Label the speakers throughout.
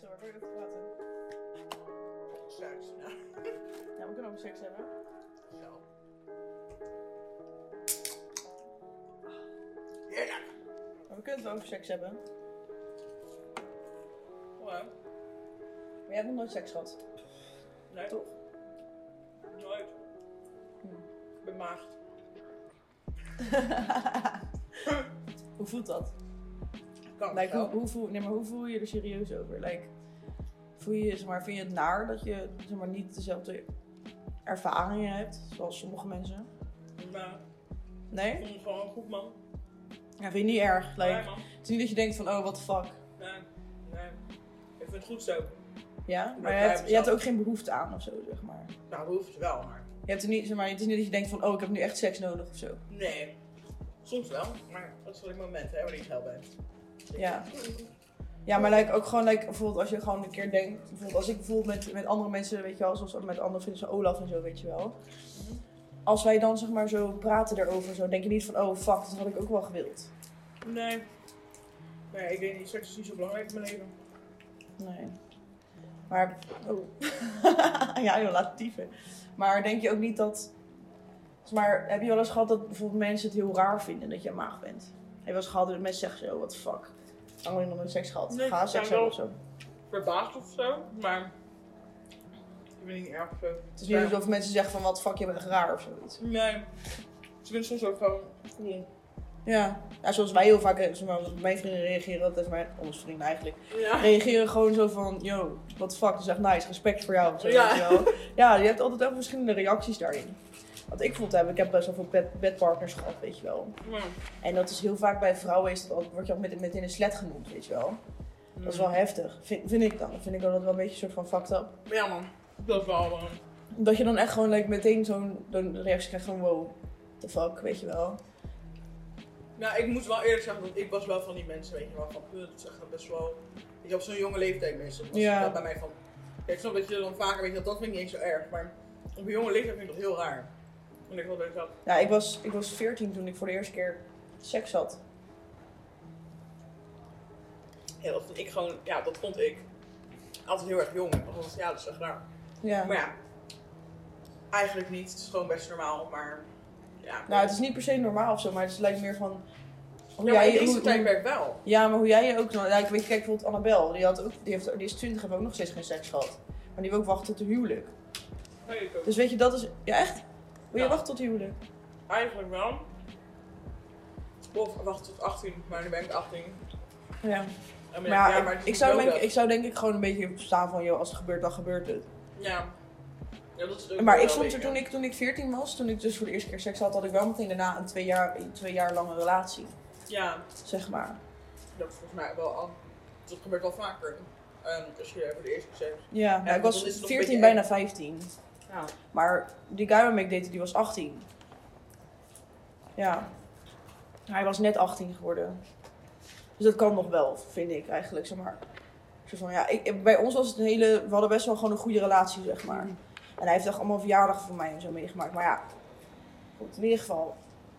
Speaker 1: Zo, waar wil je over praten?
Speaker 2: Seks.
Speaker 1: Ja, we kunnen over seks hebben.
Speaker 2: Zo. Heerlijk.
Speaker 1: Maar we kunnen het wel over seks hebben.
Speaker 2: Wat?
Speaker 1: Maar jij hebt nog nooit seks gehad.
Speaker 2: Nee,
Speaker 1: Toch? Hm.
Speaker 2: nooit. Ik ben maagd.
Speaker 1: hoe voelt dat?
Speaker 2: Kan
Speaker 1: Like, hoe,
Speaker 2: wel.
Speaker 1: hoe, voel, nee, maar hoe voel je er serieus over? Like, voel je, zeg maar, vind je het naar dat je zeg maar, niet dezelfde ervaringen hebt, zoals sommige mensen?
Speaker 2: Maar ik
Speaker 1: Nee?
Speaker 2: vond het gewoon goed, man.
Speaker 1: Ja, vind je niet erg.
Speaker 2: Nee,
Speaker 1: Like,
Speaker 2: man.
Speaker 1: het is niet dat je denkt van, oh, what the fuck.
Speaker 2: Nee, nee. Ik vind het goed zo.
Speaker 1: Ja, maar
Speaker 2: blij
Speaker 1: je hebt,
Speaker 2: mezelf.
Speaker 1: je hebt er ook geen behoefte aan of zo, zeg maar.
Speaker 2: Nou, hoeft het wel, maar...
Speaker 1: Je hebt er niet, zeg maar. Het is niet dat je denkt van, oh, ik heb nu echt seks nodig of zo.
Speaker 2: Nee. Soms wel, maar dat is wel een moment hè, waarin je geil bent.
Speaker 1: Ja. Ja, maar like, ook gewoon, like, bijvoorbeeld als je gewoon een keer denkt, bijvoorbeeld als ik bijvoorbeeld met, met andere mensen, weet je wel, zoals met andere vrienden, zoals Olaf en zo, weet je wel. Als wij dan zeg maar zo praten daarover, zo denk je niet van, oh fuck, dat had ik ook wel gewild.
Speaker 2: Nee. Nee, ik weet niet. Seks is niet zo belangrijk in mijn leven.
Speaker 1: Nee. Maar, oh. ja, heel latieven. Maar denk je ook niet dat, zeg maar, heb je wel eens gehad dat bijvoorbeeld mensen het heel raar vinden dat je een maag bent? Heb je wel eens gehad dat mensen zeggen zo, what the fuck, lang heb ik nog nooit seks gehad?
Speaker 2: Nee,
Speaker 1: Ga
Speaker 2: ik
Speaker 1: seks
Speaker 2: ben
Speaker 1: hebben
Speaker 2: wel-
Speaker 1: of zo.
Speaker 2: Verbaasd of zo, maar... Ik ben niet erg of zo.
Speaker 1: Het is niet alsof mensen zeggen van, wat fuck, je bent echt raar of zoiets.
Speaker 2: Nee. Ze vinden soms ook gewoon cool.
Speaker 1: Ja. ja, zoals wij heel vaak, eh, zeg maar, mijn vrienden reageren, dat is mijn, onze vrienden eigenlijk,
Speaker 2: Ja.
Speaker 1: reageren gewoon zo van, yo, what the fuck, dat is echt nice, respect voor jou. of Zo,
Speaker 2: Ja.
Speaker 1: weet je wel. ja, je hebt altijd wel verschillende reacties daarin. Wat ik voelde hebben, ik heb best wel veel bed, bedpartners gehad, weet je wel. En dat is heel vaak bij vrouwen, is dat, altijd- word je al met, met in een slet genoemd, weet je wel. Dat is
Speaker 2: Mm.
Speaker 1: wel heftig, vind, vind ik dan. Vind ik wel dat wel een beetje een soort van fucked up.
Speaker 2: Ja, man. Dat is wel... eh,
Speaker 1: Dat je dan echt gewoon like, meteen zo'n zo'n reactie krijgt van, wow, the fuck, weet je wel.
Speaker 2: Nou, ik moet wel eerlijk zeggen, want ik was wel van die mensen, weet je wel, van punt, zeg dat best wel. Ik heb zo'n jonge leeftijd meestal. Dat was
Speaker 1: Ja.
Speaker 2: wel bij mij van. Kijk, ik snap dat je dan vaker weet dat dat vind ik niet eens zo erg, maar op een jonge leeftijd vind ik dat heel raar. En ik wel denk dat.
Speaker 1: Ja, ik was, ik was 14 toen ik voor de eerste keer seks had.
Speaker 2: Ja, dat vond ik gewoon, ja, dat vond ik altijd heel erg jong. Dat was, ja, dat is echt raar.
Speaker 1: Ja.
Speaker 2: Maar ja, eigenlijk niet. Het is gewoon best normaal, maar ja.
Speaker 1: Nou, het is niet per se normaal of zo, maar het lijkt meer van. Hoe
Speaker 2: ja, maar in
Speaker 1: je-
Speaker 2: deze
Speaker 1: hoe-
Speaker 2: tijdperk wel.
Speaker 1: Ja, maar hoe jij je ook. Nou, ja, ik weet, kijk bijvoorbeeld Annabel, die, had ook, die, heeft, die is 20 en heeft ook nog steeds geen seks gehad. Maar die wil ook wachten tot de huwelijk.
Speaker 2: Nee, ik ook.
Speaker 1: Dus weet je, dat is. Ja, echt? Wil je
Speaker 2: Ja.
Speaker 1: wachten tot de huwelijk?
Speaker 2: Eigenlijk wel. Of wacht tot 18, maar nu ben ik 18.
Speaker 1: Ja.
Speaker 2: En
Speaker 1: Maar
Speaker 2: ben
Speaker 1: ja,
Speaker 2: ja,
Speaker 1: ik,
Speaker 2: maar
Speaker 1: ik
Speaker 2: het is
Speaker 1: zou
Speaker 2: wel
Speaker 1: denk,
Speaker 2: dat-
Speaker 1: ik zou denk ik gewoon een beetje staan van, joh, als het gebeurt, dan gebeurt het.
Speaker 2: Ja. ja dat is ook
Speaker 1: Maar
Speaker 2: wel
Speaker 1: ik vond
Speaker 2: een
Speaker 1: er
Speaker 2: beetje.
Speaker 1: toen ik, toen ik 14 was, toen ik dus voor de eerste keer seks had, had ik wel meteen daarna een twee jaar, een twee jaar lange relatie.
Speaker 2: Ja,
Speaker 1: Zeg maar.
Speaker 2: dat is volgens mij wel al... Dat gebeurt wel vaker. Ehm als je voor de eerste keer zegt.
Speaker 1: Ja, nou,
Speaker 2: maar
Speaker 1: ik
Speaker 2: dan is
Speaker 1: was
Speaker 2: het nog
Speaker 1: 14,
Speaker 2: een beetje
Speaker 1: bijna 15.
Speaker 2: Ja.
Speaker 1: Maar die guy waarmee ik date, die was 18. Ja. Hij was net 18 geworden. Dus dat kan nog wel, vind ik eigenlijk, zeg maar. Zo van, ja, ik- ik, bij ons was het een hele... We hadden best wel gewoon een goede relatie, zeg maar. En hij heeft echt allemaal verjaardagen voor mij en zo meegemaakt. Maar ja, goed, in ieder geval,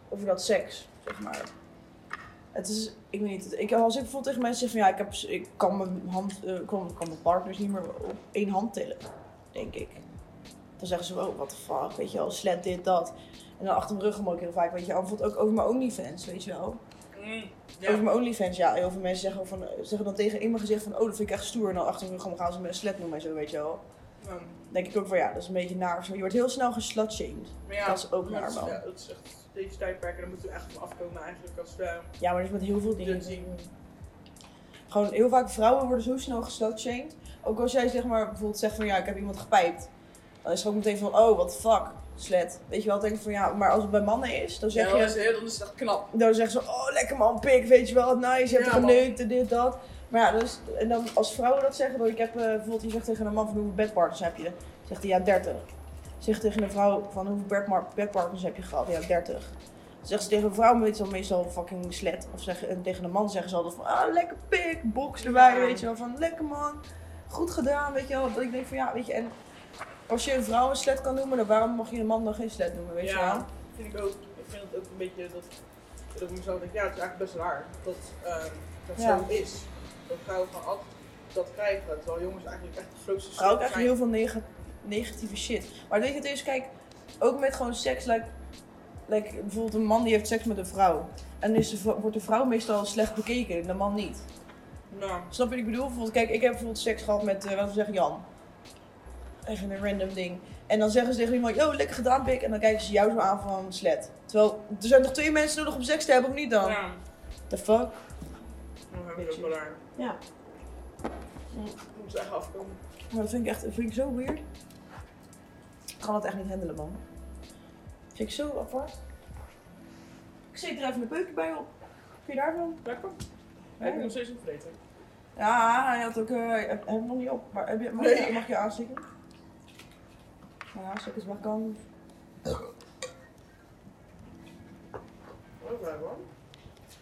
Speaker 1: over dat seks, zeg maar. Het is, ik weet niet, ik, als ik bijvoorbeeld tegen mensen zeg van ja, ik, heb, ik kan, mijn hand, eh, kan, kan mijn partners niet meer op één hand tillen, denk ik. Dan zeggen ze, oh, what the fuck, weet je wel, slet dit, dat. En dan achter mijn rug omhoog heel vaak, weet je wel. Bijvoorbeeld ook over mijn OnlyFans, weet je wel.
Speaker 2: Mm,
Speaker 1: Over
Speaker 2: ja.
Speaker 1: mijn OnlyFans, ja. Heel veel mensen zeggen, van, eh, zeggen dan tegen in mijn gezicht van, oh, dat vind ik echt stoer. En dan achter mijn rug omhoog gaan ze me een slet noemen en zo, weet je wel.
Speaker 2: Ja.
Speaker 1: Dan denk ik ook van, ja, dat is een beetje naar. of zo. Je wordt heel snel geslutshamed.
Speaker 2: Maar ja,
Speaker 1: Dat is ook
Speaker 2: maar
Speaker 1: naar,
Speaker 2: het
Speaker 1: man.
Speaker 2: Ja, dat is echt deze tijdperk en daar moeten we echt van afkomen eigenlijk als we...
Speaker 1: Ja, maar dat is met heel veel dingen.
Speaker 2: Dat zien we.
Speaker 1: Gewoon heel vaak vrouwen worden zo snel geslutshamed. Ook als jij zeg maar bijvoorbeeld zegt van ja, ik heb iemand gepijpt. Dan is het ook meteen van, oh, what the fuck, slet. Weet je wel, dan denk ik van ja, maar als het bij mannen is, dan zeg
Speaker 2: Ja,
Speaker 1: je...
Speaker 2: dat is heel, dat is echt knap.
Speaker 1: Dan zeggen ze, oh lekker man, pik, weet je wel, nice, je hebt
Speaker 2: Ja,
Speaker 1: er
Speaker 2: man.
Speaker 1: geneukt en dit, dat. Maar ja, dus, en dan als vrouwen dat zeggen, dan ik heb eh, bijvoorbeeld, je zegt tegen een man van hoeveel bedpartners heb je? Zegt hij, ja, 30. Zegt tegen een vrouw van hoeveel bedmar- bedpartners heb je gehad? Ja, 30. Zegt ze tegen een vrouw, weet ze dan meestal fucking slet. Of zeggen, en tegen een man zeggen ze altijd van, ah, lekker pik, box erbij,
Speaker 2: Ja.
Speaker 1: weet je wel, van lekker man, goed gedaan, weet je wel. Dat ik denk van, ja, weet je, en als je een vrouw een slet kan noemen, dan waarom mag je een man dan geen slet noemen, weet je wel?
Speaker 2: Ja, vind ik ook. Ik vind het ook een beetje dat... Dat ik mezelf denk, ja, het is eigenlijk best raar dat ehm dat
Speaker 1: Ja.
Speaker 2: zo is. Dat vrouwen gewoon altijd dat krijgen. Terwijl jongens eigenlijk echt de grootste
Speaker 1: Maar ook
Speaker 2: schuld
Speaker 1: echt
Speaker 2: zijn.
Speaker 1: heel veel nega- negatieve shit. Maar weet je het is, kijk, ook met gewoon seks, like, like, bijvoorbeeld een man die heeft seks met een vrouw. En is de, vrou- wordt de vrouw meestal slecht bekeken, en de man niet.
Speaker 2: Nou,
Speaker 1: Snap je wat ik bedoel? Bijvoorbeeld, kijk, ik heb bijvoorbeeld seks gehad met, eh, laten we zeggen, Jan. Echt een random ding. En dan zeggen ze tegen iemand, yo, lekker gedaan, pik. En dan kijken ze jou zo aan van slet. Terwijl, er zijn toch twee mensen nodig om seks te hebben, of niet dan?
Speaker 2: ja,
Speaker 1: The fuck?
Speaker 2: dan hebben we het ook wel daar.
Speaker 1: Ja.
Speaker 2: We moeten echt afkomen.
Speaker 1: Maar dat vind ik echt dat vind ik zo weird. Ik kan dat echt niet handelen, man. Vind ik zo apart. Ik zet er even een peukje bij op. Vind je daarvan?
Speaker 2: Lekker. Heb je
Speaker 1: Ja.
Speaker 2: nog steeds opvreten?
Speaker 1: Ja, hij had ook. eh, hij heeft hem nog niet op. Maar heb je, mag, je,
Speaker 2: Nee.
Speaker 1: mag je aansteken? Nou ja, stukjes mag kan.
Speaker 2: Ook wel hoor.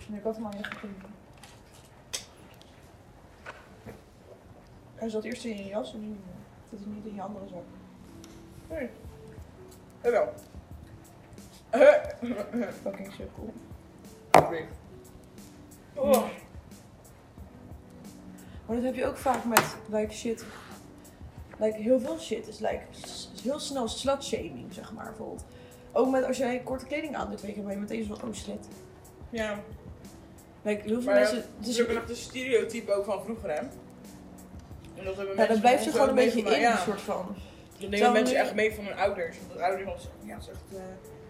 Speaker 1: Nee, ik had hem al ingegeven. Hij zat eerst in je jas en nu niet meer. Dat is niet in je andere zak.
Speaker 2: Nee. Jawel. Eh,
Speaker 1: Fucking zo cool.
Speaker 2: nee. Oh.
Speaker 1: Maar dat heb je ook vaak met like shit. Like heel veel shit is like s- heel snel slutshaming, zeg maar. Bijvoorbeeld. Ook met als jij korte kleding aan doet, weet je, ben je meteen zo van, oh shit.
Speaker 2: Ja,
Speaker 1: Like, heel veel
Speaker 2: Maar ja,
Speaker 1: mensen.
Speaker 2: dus
Speaker 1: Dus,
Speaker 2: ik ben nog de stereotype ook van vroeger, hè? En dat hebben
Speaker 1: ja,
Speaker 2: mensen
Speaker 1: dat blijft
Speaker 2: ons
Speaker 1: zich gewoon een
Speaker 2: ook
Speaker 1: beetje in,
Speaker 2: meegemaakt,
Speaker 1: een soort van.
Speaker 2: Ja. Dat
Speaker 1: Terwijl
Speaker 2: nemen mensen
Speaker 1: nu-
Speaker 2: echt mee van hun ouders. Want hun ouders was, ja, is echt, eh,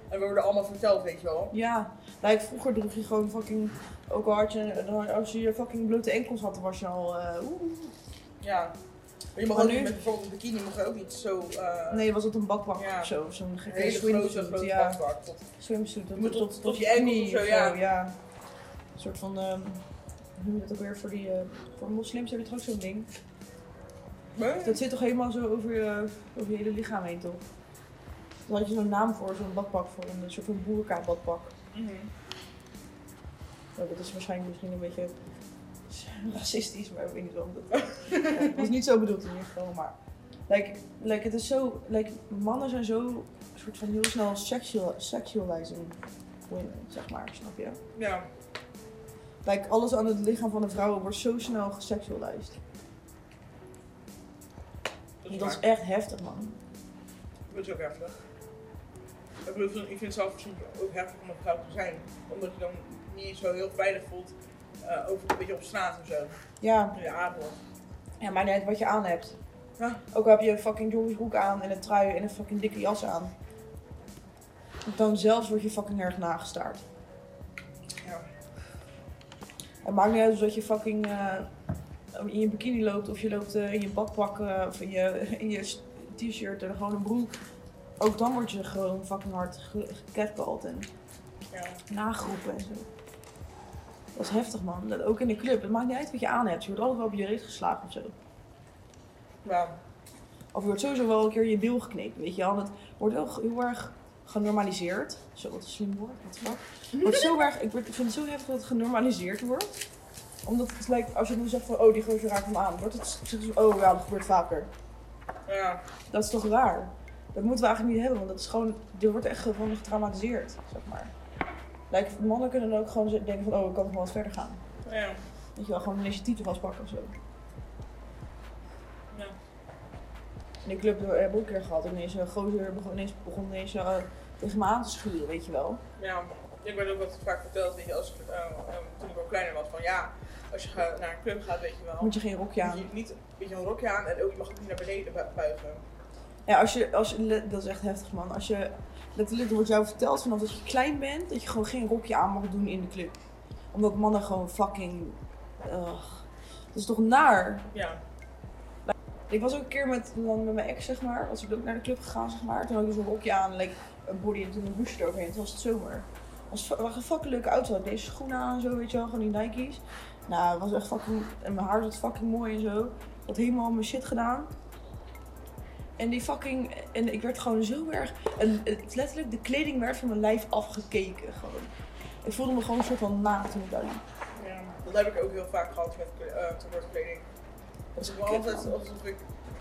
Speaker 2: en we worden allemaal verteld, weet je wel.
Speaker 1: Ja, like, vroeger droeg je gewoon fucking. Ook al had je, dan- als je je fucking blote enkels had, dan was je al. eh, oeh.
Speaker 2: Ja. Maar je mag
Speaker 1: Maar
Speaker 2: ook
Speaker 1: nu-
Speaker 2: niet met bijvoorbeeld een bikini, mag je ook niet zo... eh
Speaker 1: nee, dus was dat een bakbak
Speaker 2: ja.
Speaker 1: of zo? Zo'n
Speaker 2: een
Speaker 1: gekke
Speaker 2: hele grote,
Speaker 1: swimsuit.
Speaker 2: grote
Speaker 1: ja,
Speaker 2: bakbak. Tot-
Speaker 1: swimsuit.
Speaker 2: Je moet tot- tot je
Speaker 1: knie
Speaker 2: enkels of zo, ja.
Speaker 1: Een soort van. ehm, hoe noem je dat ook weer voor die. eh, voor moslims heb je toch ook zo'n ding?
Speaker 2: Huh?
Speaker 1: Dat zit toch helemaal zo over je, over je hele lichaam heen, toch? Dan had je zo'n naam voor, zo'n badpak voor, een soort van boerka-badpak.
Speaker 2: Mhm.
Speaker 1: Nou, dat is waarschijnlijk misschien een beetje racistisch, maar ik weet niet waarom dat. Het was niet zo bedoeld in ieder geval, maar. Like, like, het is zo, like, mannen zijn zo soort van heel snel sexual, sexualizing women, zeg maar, snap je?
Speaker 2: Ja.
Speaker 1: Like, alles aan het lichaam van een vrouw wordt zo snel gesexualized.
Speaker 2: Dat is,
Speaker 1: dat is
Speaker 2: waar.
Speaker 1: echt heftig, man.
Speaker 2: Dat is ook heftig. Ik bedoel, ik vind het zelf soms ook heftig om een vrouw te zijn. Omdat je dan niet eens zo heel veilig voelt eh, over een beetje op straat of zo.
Speaker 1: Ja,
Speaker 2: In je avond.
Speaker 1: ja maar net wat je aan hebt.
Speaker 2: Ah, Ja.
Speaker 1: Ook al heb je een fucking jongensbroek aan en een trui en een fucking dikke jas aan. Dan zelfs word je fucking erg nagestaard.
Speaker 2: Ja.
Speaker 1: Het maakt niet uit of dat je fucking eh, in je bikini loopt of je loopt eh, in je badpak eh, of in je, in je s- t-shirt en gewoon een broek. Ook dan word je gewoon fucking hard ge- gecatcalled en
Speaker 2: Ja.
Speaker 1: nageroepen en zo. Dat is heftig man. Dat ook in de club. Het maakt niet uit wat je aan hebt. Je wordt altijd wel op je reet geslagen of zo.
Speaker 2: Ja.
Speaker 1: Of je wordt sowieso wel een keer je bil geknepen, weet je wel. Dat wordt wel heel erg genormaliseerd. Zo, wat een slim woord. Wat de fuck. Wordt zo erg, ik word- ik vind het zo heftig dat het genormaliseerd wordt. Omdat het lijkt, als je nu zegt van, oh, die gozer raakt hem aan. Wordt het, zeggen ze, oh ja, dat gebeurt vaker.
Speaker 2: Ja.
Speaker 1: Dat is toch raar? Dat moeten we eigenlijk niet hebben, want dat is gewoon, dit wordt echt gewoon getraumatiseerd, zeg maar. Lijkt, mannen kunnen dan ook gewoon z- denken van, oh, ik kan nog wel wat verder gaan.
Speaker 2: Ja.
Speaker 1: Weet je wel, gewoon ineens je titel vastpakken of zo.
Speaker 2: Ja.
Speaker 1: In de club hebben we ook een keer gehad. Ineens een gozer begon ineens, begon ineens eh, tegen me aan te schuren, weet je wel.
Speaker 2: Ja, Nou, ik werd ook wat vaak verteld, weet je, als ik, eh, eh, toen ik al kleiner was, van ja, als je ga- naar een club gaat, weet je wel,
Speaker 1: Moet je geen rokje
Speaker 2: moet
Speaker 1: aan.
Speaker 2: je niet een beetje een rokje aan en ook, je mag ook niet naar beneden bu- buigen.
Speaker 1: Ja, als je, als je, le- dat is echt heftig man. Als je, letterlijk er wordt jou verteld vanaf dat je klein bent, dat je gewoon geen rokje aan mag doen in de club. Omdat mannen gewoon fucking, ugh. Dat is toch naar?
Speaker 2: Ja,
Speaker 1: Ik was ook een keer met, dan met mijn ex, zeg maar, was ik ook naar de club gegaan, zeg maar. Toen had ik dus een rokje aan, like, een body en toen een hoesje eroverheen. Toen was het zomer. Het was echt een fucking leuke auto. Ik deze schoenen aan en zo, weet je wel, gewoon die Nike's. Nou, het was echt fucking, en mijn haar zat fucking mooi en zo. Ik had helemaal mijn shit gedaan. En die fucking, en ik werd gewoon zo erg, en het, letterlijk, de kleding werd van mijn lijf afgekeken, gewoon. Ik voelde me gewoon een soort van naakt toen ik daar liep.
Speaker 2: ja, dat heb ik ook heel vaak gehad met kle- eh te worden kleding.
Speaker 1: Dat
Speaker 2: Dat
Speaker 1: is
Speaker 2: ik
Speaker 1: echt
Speaker 2: me
Speaker 1: kut,
Speaker 2: altijd
Speaker 1: man.
Speaker 2: alsof ik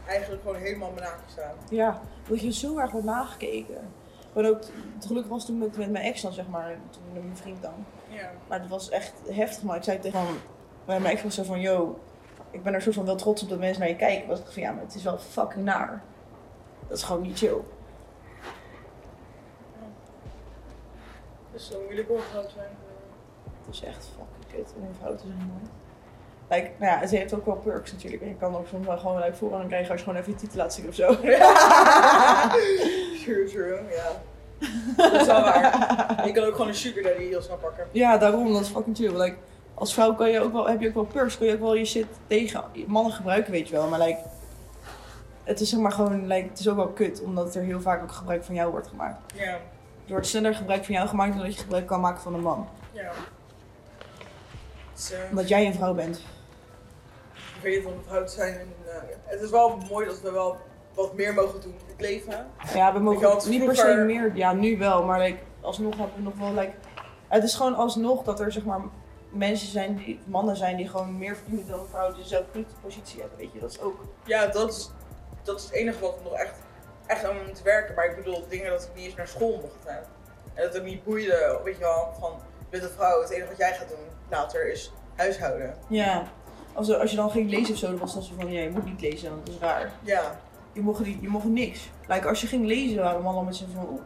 Speaker 2: eigenlijk gewoon helemaal benaaid sta.
Speaker 1: Ja, dat je zo erg wordt nagekeken. Maar ook, het geluk was toen met, met mijn ex dan, zeg maar, toen met mijn vriend dan.
Speaker 2: Ja,
Speaker 1: Maar het was echt heftig, maar ik zei tegen hem, bij mijn ex was zo van, yo, ik ben er soort van wel trots op dat mensen naar je kijken. Want ik dacht van ja, maar het is wel fucking naar. Dat is gewoon niet chill.
Speaker 2: Het is zo moeilijk om getrouwd te zijn. eh.
Speaker 1: Het is echt fucking kut om een vrouw te zijn, man. Like, nou ja, en ze heeft ook wel perks natuurlijk. En je kan ook soms wel gewoon leuk voorrang krijgen als je gewoon even je titel laat zien of zo.
Speaker 2: True, true, ja. Dat is wel waar. En je kan ook gewoon een sugar daddy heel snel pakken.
Speaker 1: ja, daarom, dat is fucking chill. Like, als vrouw kan je ook wel, heb je ook wel perks, kun je ook wel je shit tegen mannen gebruiken, weet je wel. Maar like, het is zeg maar gewoon, like, het is ook wel kut, omdat er heel vaak ook gebruik van jou wordt gemaakt.
Speaker 2: Ja,
Speaker 1: Er wordt sneller gebruik van jou gemaakt dan dat je gebruik kan maken van een man.
Speaker 2: ja. Dus, eh,
Speaker 1: Omdat jij een vrouw bent.
Speaker 2: Ik weet niet of we getrouwd zijn. En, eh, het is wel mooi dat we wel wat meer mogen doen in het leven.
Speaker 1: Ja, we
Speaker 2: Ik
Speaker 1: mogen
Speaker 2: had
Speaker 1: niet per se
Speaker 2: vroeger-
Speaker 1: meer. Ja, nu wel, maar like, alsnog hebben we nog wel. Like, het is gewoon alsnog dat er zeg maar mensen zijn, die, mannen zijn die gewoon meer verdienen dan vrouwen die zelf niet de positie hebben. Weet je, dat is ook.
Speaker 2: Ja, dat is, dat is het enige wat we nog echt, echt aan moeten werken. Maar ik bedoel, dingen dat ik niet eens naar school mocht gaan. En dat het me niet boeide, weet je wel, van je bent een vrouw, het enige wat jij gaat doen later is huishouden.
Speaker 1: Ja. Als, als je dan ging lezen of zo, dan was dat zo van ja, je moet niet lezen, want dat is raar.
Speaker 2: Ja,
Speaker 1: Je mocht, niet, je mocht niks. Like, als je ging lezen, waren mannen met z'n van oeh,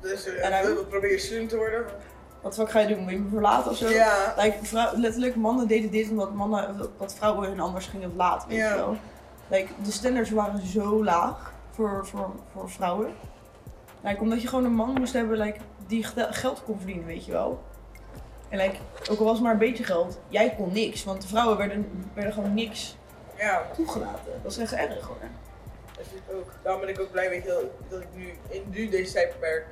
Speaker 2: dus
Speaker 1: En
Speaker 2: eh,
Speaker 1: hij-
Speaker 2: we we proberen student te worden.
Speaker 1: wat fuck ga je doen? Wil je me verlaten of zo?
Speaker 2: Ja,
Speaker 1: Like, vrouw, letterlijk, mannen deden dit omdat mannen, dat vrouwen hun anders gingen verlaten, weet
Speaker 2: Ja.
Speaker 1: je wel. Like, de standards waren zo laag voor, voor, voor vrouwen. Like, omdat je gewoon een man moest hebben like, die gel- geld kon verdienen, weet je wel. En like, ook al was het maar een beetje geld, jij kon niks. Want de vrouwen werden, werden gewoon niks
Speaker 2: ja,
Speaker 1: toegelaten. Dat is echt erg hoor.
Speaker 2: dat vind ik ook. Daarom ben ik ook blij weet je, dat- dat ik nu in nu deze tijdperk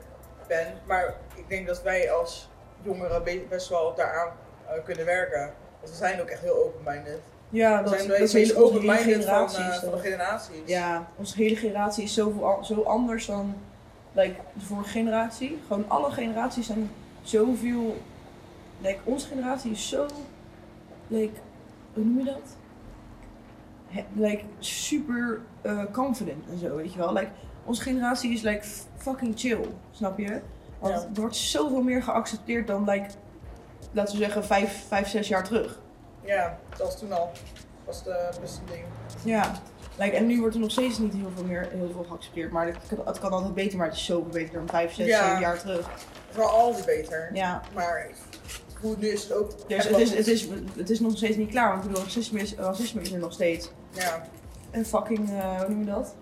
Speaker 2: ben. Maar ik denk dat wij als jongeren be- best wel daaraan eh, kunnen werken. Want we zijn ook echt heel open-minded.
Speaker 1: Ja,
Speaker 2: We
Speaker 1: dat,
Speaker 2: zijn
Speaker 1: dat
Speaker 2: wel
Speaker 1: is
Speaker 2: eens
Speaker 1: hele
Speaker 2: hele open-minded van,
Speaker 1: generatie.
Speaker 2: eh, van de generaties.
Speaker 1: Ja, onze hele generatie is zoveel an- zo anders dan like, de vorige generatie. Gewoon alle generaties zijn zoveel. Like, onze generatie is zo. Like, hoe noem je dat? He- Like, super eh, confident en zo, weet je wel. Like, onze generatie is like, f- fucking chill, snap je? Want
Speaker 2: Ja.
Speaker 1: er wordt zoveel meer geaccepteerd dan, like, laten we zeggen, vijf, vijf zes jaar terug.
Speaker 2: Ja, dat was toen al. Dat was de beste ding.
Speaker 1: Ja, like, en nu wordt er nog steeds niet heel veel meer heel veel geaccepteerd. Maar het kan, het kan altijd beter, maar het is zoveel beter dan vijf, zes,
Speaker 2: Ja.
Speaker 1: zeven jaar terug.
Speaker 2: Het was altijd beter.
Speaker 1: Ja,
Speaker 2: Maar hoe het nu is het ook.
Speaker 1: dus het, is, het, is, het is nog steeds niet klaar, want ik bedoel, racisme is, racisme is er nog steeds.
Speaker 2: Ja,
Speaker 1: En fucking, eh, hoe noem je dat?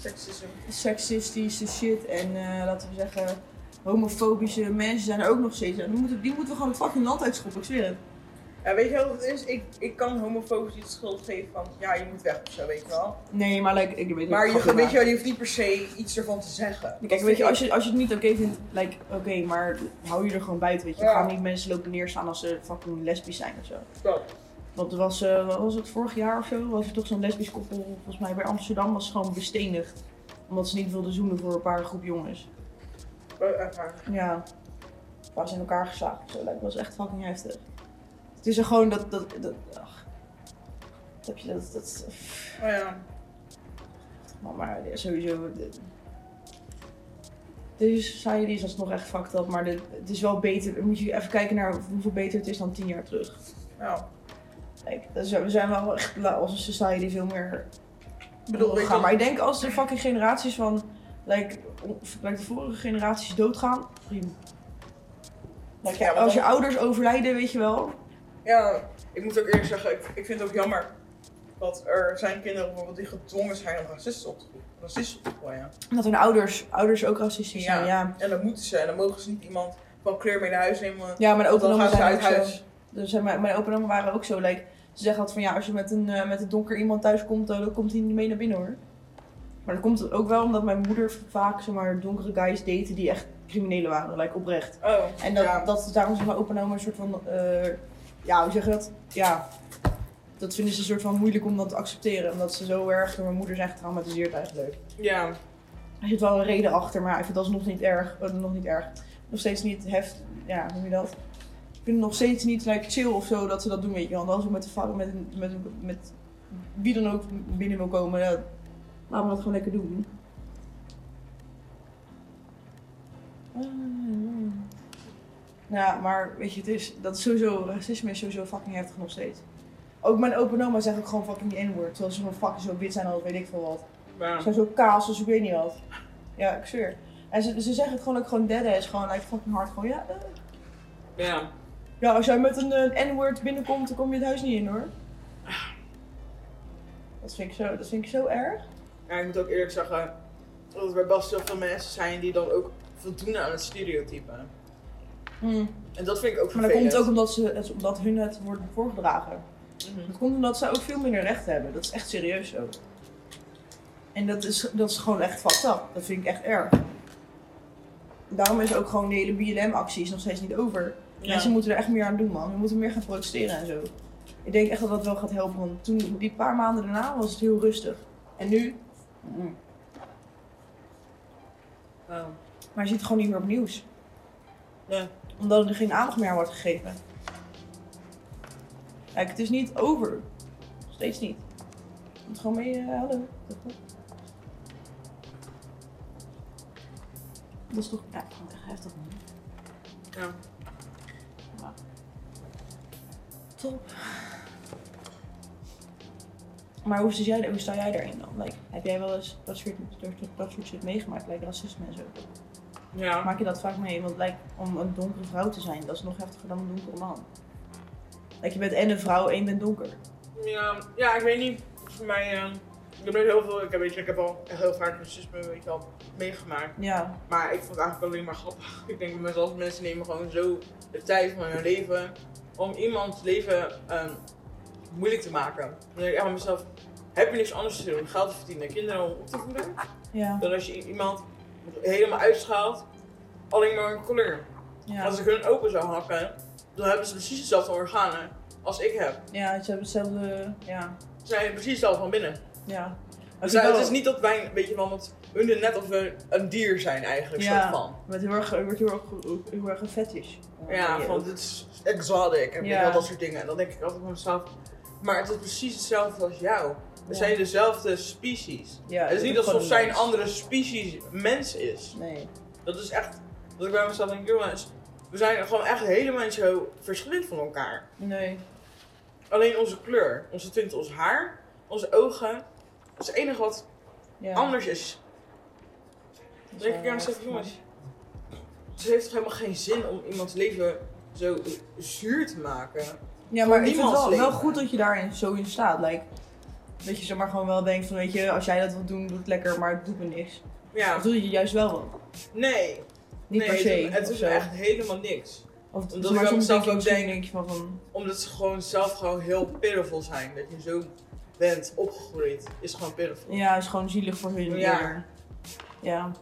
Speaker 2: seksisme.
Speaker 1: Seksistische shit en eh, laten we zeggen, homofobische mensen zijn er ook nog steeds. En die moeten, die moeten we gewoon het fucking land uitschoppen, ik zweer het.
Speaker 2: Ja, weet je wel wat het is? Ik, ik kan homofobisch niet de schuld geven van ja, je moet weg of zo, weet je wel.
Speaker 1: Nee, maar like, ik weet het
Speaker 2: Maar
Speaker 1: niet.
Speaker 2: je, weet je, wel, je hoeft niet per se iets ervan te zeggen.
Speaker 1: Kijk, weet je, als je, als je het niet oké vindt, like, oké, maar hou je er gewoon buiten, weet je.
Speaker 2: Ja.
Speaker 1: Ga niet mensen lopen neerstaan als ze fucking lesbisch zijn of zo.
Speaker 2: Dat.
Speaker 1: Want er was, eh, wat was het vorig jaar of zo, was er toch zo'n lesbisch koppel, volgens mij bij Amsterdam, was gewoon bestenigd. Omdat ze niet wilden zoenen voor een paar groep jongens.
Speaker 2: Eh, echt waar.
Speaker 1: Ja. Waar ze in elkaar geslagen of zo, lijkt me. dat was echt fucking heftig. Het is er gewoon dat, dat, dat, ach. Dat heb je dat, dat, pff,
Speaker 2: Oh ja.
Speaker 1: man, maar sowieso. de- Deze society is alsnog echt fucked up, maar de- het is wel beter. Dan moet je even kijken naar hoeveel beter het is dan tien jaar terug.
Speaker 2: Nou,
Speaker 1: Kijk, dus we zijn wel echt la- als een society veel meer.
Speaker 2: Ik bedoel, weet je
Speaker 1: gaan.
Speaker 2: wat-
Speaker 1: Maar ik denk als de fucking generaties van. Like, on- like de vorige generaties doodgaan, prima. Like,
Speaker 2: Ja,
Speaker 1: ja,
Speaker 2: maar
Speaker 1: als je
Speaker 2: dan-
Speaker 1: ouders overlijden, weet je wel.
Speaker 2: ja, ik moet ook eerlijk zeggen, ik, ik vind het ook jammer. Dat er zijn kinderen bijvoorbeeld die gedwongen zijn om racisten op te groeien. Racisten op te groeien.
Speaker 1: Dat hun ouders, ouders ook racistisch
Speaker 2: Ja.
Speaker 1: zijn. Ja.
Speaker 2: En dan moeten ze, en dan mogen ze niet iemand van kleur mee naar huis nemen. want
Speaker 1: ja, mijn opa en
Speaker 2: dan
Speaker 1: oma
Speaker 2: gaan ze
Speaker 1: zijn
Speaker 2: uit
Speaker 1: ook zo.
Speaker 2: huis.
Speaker 1: Dus, eh, mijn, mijn opa en oma waren ook zo. Like, ze zeggen altijd van ja, als je met een, eh, met een donker iemand thuis komt, eh, dan komt hij niet mee naar binnen hoor. Maar dat komt ook wel omdat mijn moeder vaak zeg maar, donkere guys date die echt criminelen waren, like, oprecht.
Speaker 2: Oh,
Speaker 1: En dat,
Speaker 2: ja.
Speaker 1: dat is daarom zeg maar open een soort van, eh, ja, hoe zeg je dat? Ja, dat vinden ze een soort van moeilijk om dat te accepteren. Omdat ze zo erg door mijn moeder zijn getraumatiseerd eigenlijk.
Speaker 2: ja.
Speaker 1: Er zit wel een reden achter, maar ik vind dat nog niet erg. eh, nog niet erg. Nog steeds niet heft, ja, hoe noem je dat? Ik vind het nog steeds niet like, chill of zo dat ze dat doen, weet je wel. Want als ik met de va- met, met, met, wie dan ook binnen wil komen, ja, laten we dat gewoon lekker doen. Ah. Ja, maar weet je, het is, dat is sowieso, racisme is sowieso fucking heftig nog steeds. Ook mijn open oma zegt ook gewoon fucking die N-word. Terwijl ze van fucking zo wit zijn als weet ik veel wat.
Speaker 2: Maar,
Speaker 1: Ze zijn zo kaas als ik weet niet wat. Ja, ik zweer. En ze, ze zeggen het gewoon ook gewoon dada is gewoon like fucking hard. Gewoon ja, eh.
Speaker 2: ja.
Speaker 1: ja als jij met een eh, N-word binnenkomt, dan kom je het huis niet in hoor. Dat vind ik zo, dat vind ik zo erg.
Speaker 2: ja, ik moet ook eerlijk zeggen dat er bij Bas heel veel mensen zijn die dan ook voldoen aan het stereotype. En dat vind ik ook
Speaker 1: Maar dat komt
Speaker 2: vervelend.
Speaker 1: ook omdat, ze, het is omdat hun het wordt voorgedragen.
Speaker 2: Mhm.
Speaker 1: Dat komt omdat zij ook veel minder recht hebben. Dat is echt serieus zo. En dat is, dat is gewoon echt fucked up. Dat vind ik echt erg. Daarom is ook gewoon de hele BLM-acties nog steeds niet over.
Speaker 2: Ja.
Speaker 1: Mensen moeten er echt meer aan doen, man. We moeten meer gaan protesteren en zo. Ik denk echt dat dat wel gaat helpen, want toen, die paar maanden daarna was het heel rustig. En nu?
Speaker 2: Ja.
Speaker 1: Maar je ziet het gewoon niet meer op nieuws.
Speaker 2: Ja.
Speaker 1: Omdat er dus geen aandacht meer aan wordt gegeven. Kijk, het is niet over. Steeds niet. Je moet gewoon mee, eh, hallo. Dat is toch... Ja, ik vind het echt heftig, man.
Speaker 2: Ja.
Speaker 1: Top. Maar hoe, zit jij, hoe sta jij daarin dan? Like, heb jij wel eens dat soort, dat, soort- dat soort shit meegemaakt, like racisme en zo?
Speaker 2: Ja.
Speaker 1: Maak je dat vaak mee? Want like, om een donkere vrouw te zijn, dat is nog heftiger dan een donkere man. Like, je bent en een vrouw en je bent donker.
Speaker 2: Ja, ja, ik weet niet. Voor mij, ehm, ik heb nooit heel veel, ik heb, weet je, ik heb al echt heel vaak racisme weet je, al, meegemaakt.
Speaker 1: Ja,
Speaker 2: Maar ik vond het eigenlijk alleen maar grappig. Ik denk bij mezelf, mensen nemen gewoon zo de tijd van hun leven om iemands leven ehm, moeilijk te maken. Dan denk ik echt bij mezelf, heb je niks anders te doen? Geld te verdienen, kinderen om op te voeden?
Speaker 1: ja,
Speaker 2: Dan als je i- iemand helemaal uitschaalt, alleen maar een kleur.
Speaker 1: ja.
Speaker 2: Als ik hun open zou hakken, dan hebben ze precies dezelfde organen als ik heb.
Speaker 1: Ja, ze hebben hetzelfde... Ja,
Speaker 2: Ze zijn precies hetzelfde van binnen.
Speaker 1: ja.
Speaker 2: Dus het is niet dat wij, weet je wel, want hun doen net of we een dier zijn eigenlijk,
Speaker 1: Ja.
Speaker 2: soort van.
Speaker 1: Het wordt heel erg, het wordt heel erg, heel erg een fetish.
Speaker 2: Ja, van dit is exotic en weet je
Speaker 1: Ja.
Speaker 2: wel, dat soort dingen. En dan denk ik altijd van mezelf, maar het is precies hetzelfde als jou. We
Speaker 1: Ja.
Speaker 2: zijn dezelfde species.
Speaker 1: Ja,
Speaker 2: het is
Speaker 1: dat
Speaker 2: niet
Speaker 1: is
Speaker 2: alsof
Speaker 1: gewoon
Speaker 2: zij een
Speaker 1: mens.
Speaker 2: andere species mens is.
Speaker 1: Nee.
Speaker 2: Dat is echt, dat ik bij mezelf denk, jongens, we zijn gewoon echt helemaal zo verschillend van elkaar.
Speaker 1: Nee.
Speaker 2: Alleen onze kleur, onze tint, ons haar, onze ogen, dat is het enige wat
Speaker 1: Ja.
Speaker 2: anders is.
Speaker 1: Dat is
Speaker 2: Denk
Speaker 1: wel
Speaker 2: ik aan
Speaker 1: heftig,
Speaker 2: mezelf, jongens. Dus Het heeft toch helemaal geen zin om iemands leven zo zuur te maken.
Speaker 1: Ja, maar ik vind het
Speaker 2: niemands
Speaker 1: wel,
Speaker 2: leven.
Speaker 1: wel goed dat je daarin zo in staat. Like, dat je zeg maar gewoon wel denkt van, weet je, als jij dat wilt doen, doe het lekker, maar het doet me niks.
Speaker 2: Ja,
Speaker 1: Of doe je juist wel wat.
Speaker 2: nee.
Speaker 1: Niet
Speaker 2: nee,
Speaker 1: per
Speaker 2: het
Speaker 1: se.
Speaker 2: doet me- het
Speaker 1: of
Speaker 2: is
Speaker 1: zo.
Speaker 2: echt helemaal niks.
Speaker 1: Of,
Speaker 2: omdat
Speaker 1: maar
Speaker 2: ik wel
Speaker 1: soms
Speaker 2: mezelf
Speaker 1: denk je,
Speaker 2: ook
Speaker 1: misschien
Speaker 2: denk-
Speaker 1: denk je van, van
Speaker 2: Omdat ze gewoon zelf gewoon heel pitiful zijn. Dat je zo bent opgegroeid, is gewoon pitiful.
Speaker 1: ja, is gewoon zielig voor hun.
Speaker 2: Ja.
Speaker 1: eerder. Ja.
Speaker 2: Dat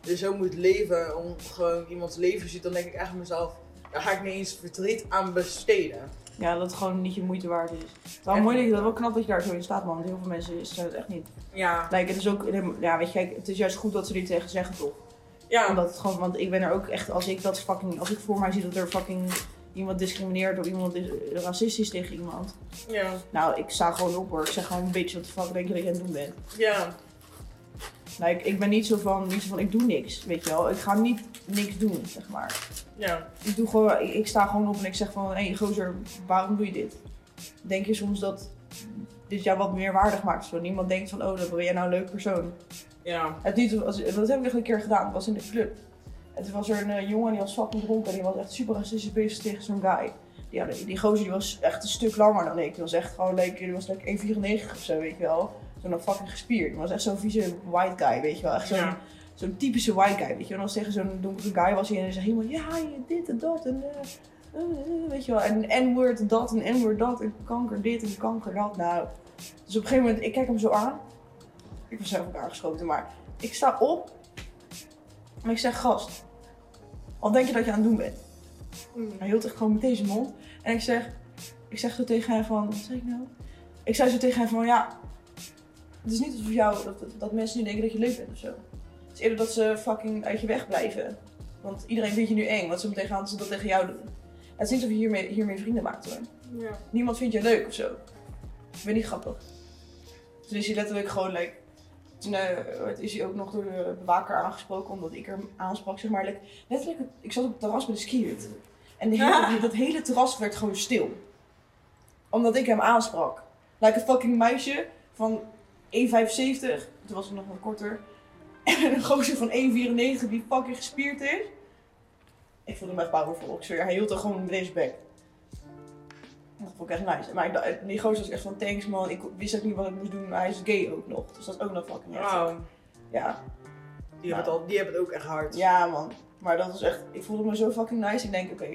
Speaker 2: je Dus zo moet leven, om gewoon iemands leven ziet, dan denk ik echt aan mezelf, daar ga ik niet eens verdriet aan besteden.
Speaker 1: ja, dat het gewoon niet je moeite waard is. Het is wel
Speaker 2: Echt.
Speaker 1: mooi dat je dat wel knap dat je daar zo in staat, man. Want heel veel mensen is- zijn het echt niet.
Speaker 2: Ja,
Speaker 1: Like, het is ook, ja, weet je, kijk, het is juist goed dat ze dit tegen zeggen, toch?
Speaker 2: ja.
Speaker 1: Omdat het gewoon, want ik ben er ook echt, als ik dat fucking, als ik voor mij zie dat er fucking iemand discrimineert of iemand is racistisch tegen iemand.
Speaker 2: ja.
Speaker 1: Nou, ik sta gewoon op hoor. Ik zeg gewoon, bitch, wat de fuck denk je dat ik aan het doen ben?
Speaker 2: ja.
Speaker 1: Nou, ik, ik ben niet zo, van, niet zo van, ik doe niks, weet je wel. Ik ga niet niks doen, zeg maar.
Speaker 2: ja.
Speaker 1: Ik, doe gewoon, ik, ik sta gewoon op en ik zeg van, hé hey, gozer, waarom doe je dit? Denk je soms dat dit jou wat meer waardig maakt? Zo, niemand denkt van, oh, dat ben jij nou een leuk persoon.
Speaker 2: ja.
Speaker 1: Het niet, als- dat heb ik nog een keer gedaan, het was in de club. En toen was er een eh, jongen die was fucking dronken en die was echt super racistisch bezig tegen zo'n guy. Die, hadden- die gozer die was echt een stuk langer dan ik. Die was echt gewoon leuk, die was like 1,94 of zo, weet je wel. Zo'n fucking gespierd. Die was echt zo'n vieze white guy, weet je wel. Echt zo'n
Speaker 2: Ja.
Speaker 1: zo'n typische white guy, weet je wel. En als tegen zo'n donkere guy was hij en hij zei helemaal, ja, je dit en dat en eh, eh, eh, weet je wel. En een N-word dat en een N-word dat en kanker dit en kanker dat. Nou, dus op een gegeven moment, ik kijk hem zo aan. Ik was zelf ook aangeschoten, maar ik sta op en ik zeg, gast, wat denk je dat je aan het doen bent? Hij hield echt gewoon met deze mond. En ik zeg, ik zeg zo tegen hem van, wat zei ik nou? Ik zei zo tegen hem van, ja, het is niet alsof jou, dat, dat, dat mensen nu denken dat je leuk bent of zo. Het is eerder dat ze fucking uit je weg blijven. Want iedereen vindt je nu eng, want ze meteen gaan ze dat tegen jou doen. En het is niet alsof je hiermee, hiermee vrienden maakt hoor.
Speaker 2: ja.
Speaker 1: Niemand vindt je leuk of zo. Ik ben niet grappig. Toen is hij letterlijk gewoon, like, toen eh, is hij ook nog door de bewaker aangesproken, omdat ik hem aansprak, zeg maar. Like, letterlijk, ik zat op het terras met een skier. En de hele, dat hele terras werd gewoon stil. Omdat ik hem aansprak. Like een fucking meisje van 1,75. Toen was ik nog wat korter. En een gozer van 1,94 die fucking gespierd is. Ik vond hem echt powerful. Ik zweer, hij hield er gewoon respect. Dat vond ik echt nice. Maar ik dacht- eh, die gozer was echt van thanks man. Ik wist ook niet wat ik moest doen. Maar hij is gay ook nog. Dus dat is ook nog fucking heftig. Ja.
Speaker 2: Die, hebben het al, die hebben het ook echt hard.
Speaker 1: Nou. Ja, man. Maar dat was echt. Ik voelde me zo fucking nice. Ik denk, oké.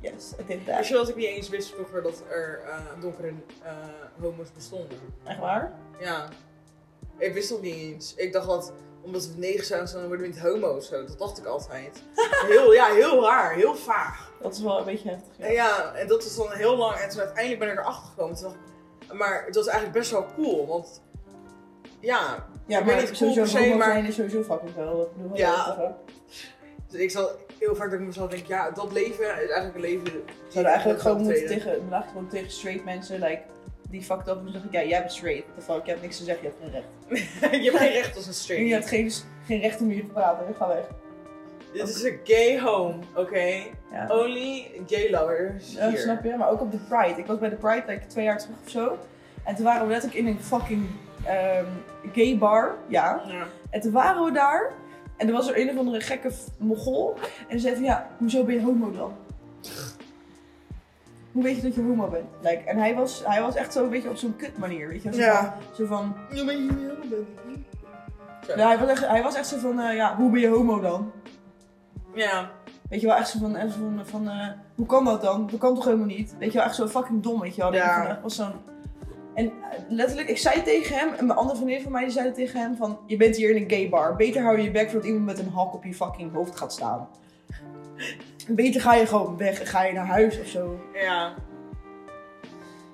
Speaker 1: yes, I did
Speaker 2: Wist
Speaker 1: that.
Speaker 2: je dat ik niet eens wist vroeger dat er eh, donkere eh, homo's bestonden?
Speaker 1: Echt waar?
Speaker 2: Ja. Ik wist dat niet eens. Ik dacht dat omdat we negen zijn, dan worden we niet homo's. Zo. Dat dacht ik altijd. Heel, ja, heel raar. Heel vaag.
Speaker 1: Dat is wel een beetje heftig. Ja.
Speaker 2: En ja, en dat was dan heel lang. En toen uiteindelijk ben ik erachter gekomen. Toen dacht ik- maar het was eigenlijk best wel cool. Want ja,
Speaker 1: Ja,
Speaker 2: ik
Speaker 1: maar
Speaker 2: weet niet cool
Speaker 1: sowieso
Speaker 2: per se,
Speaker 1: homo
Speaker 2: maar
Speaker 1: zijn is sowieso fucking wel. Dat bedoel ik
Speaker 2: Ja.
Speaker 1: wel even.
Speaker 2: Dus ik zal heel vaak dat ik mezelf denk, ja, dat leven is eigenlijk een leven. die
Speaker 1: We
Speaker 2: ik
Speaker 1: zouden eigenlijk
Speaker 2: wil
Speaker 1: gewoon moeten
Speaker 2: optreden.
Speaker 1: tegen, we dachten gewoon tegen straight mensen, like, die fucked up moeten zeggen, ja, jij bent straight. What The fuck, je hebt niks te zeggen, je hebt geen recht.
Speaker 2: je hebt geen recht als een straight.
Speaker 1: En je hebt geen, geen recht om hier te praten, ik ga weg.
Speaker 2: Dit is een gay home, oké?
Speaker 1: Ja.
Speaker 2: Only gay lovers.
Speaker 1: Ja,
Speaker 2: hier.
Speaker 1: Oh, snap je? Maar ook op de Pride. Ik was bij de Pride like, twee jaar terug of zo. En toen waren we letterlijk in een fucking ehm, gay bar. Ja.
Speaker 2: Ja.
Speaker 1: En toen waren we daar. En er was er een of andere gekke f- mogol. En zei van, ja, hoezo ben je homo dan? Hoe weet je dat je homo bent? Like, en hij was, hij was echt zo een beetje op zo'n kut manier, weet je? Zo
Speaker 2: Ja.
Speaker 1: van, zo van
Speaker 2: Ja, maar je bent Ja.
Speaker 1: nou, hij, was echt, hij was echt zo van, eh, ja, hoe ben je homo dan?
Speaker 2: Ja,
Speaker 1: Weet je wel, echt zo van, echt zo van, van eh, hoe kan dat dan? Dat kan toch helemaal niet? Weet je wel, echt zo fucking dom, weet je wel.
Speaker 2: Ja.
Speaker 1: Ja. Van, echt was zo'n... En eh, letterlijk, ik zei tegen hem, en mijn andere vriendin van mij, die zeiden tegen hem van, je bent hier in een gay bar. Beter hou je je bek voordat iemand met een hak op je fucking hoofd gaat staan. Beter ga je gewoon weg en ga je naar huis of zo.
Speaker 2: ja.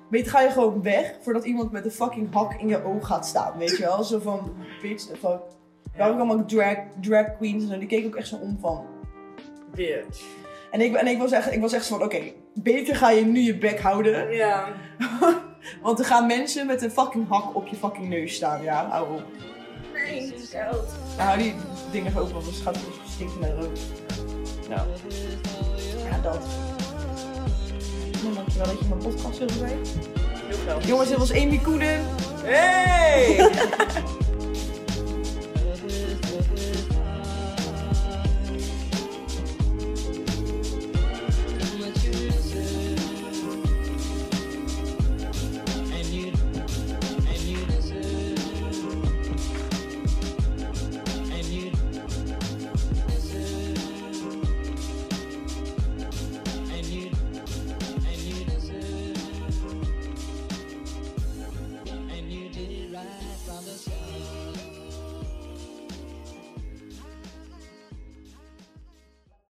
Speaker 1: Beter ga je gewoon weg voordat iemand met een fucking hak in je oog gaat staan, weet je wel. Zo van, bitch, the fuck. Waarom allemaal drag, drag queens en zo, die keek ook echt zo om van.
Speaker 2: Bitch.
Speaker 1: En ik, en ik was echt, ik was echt zo van, oké, beter ga je nu je bek houden.
Speaker 2: Ja.
Speaker 1: Want er gaan mensen met een fucking hak op je fucking neus staan, ja, hou op.
Speaker 3: Nee, zo.
Speaker 1: Nou, hou die dingen open, want anders gaat het stinken met rook. Nou. Ja, dat. Nou, dankjewel dat je mijn podcast wilde zijn.
Speaker 2: Heel veel.
Speaker 1: Jongens, dit was Amy Koeden.
Speaker 2: Hey!
Speaker 4: and you did it right from the start.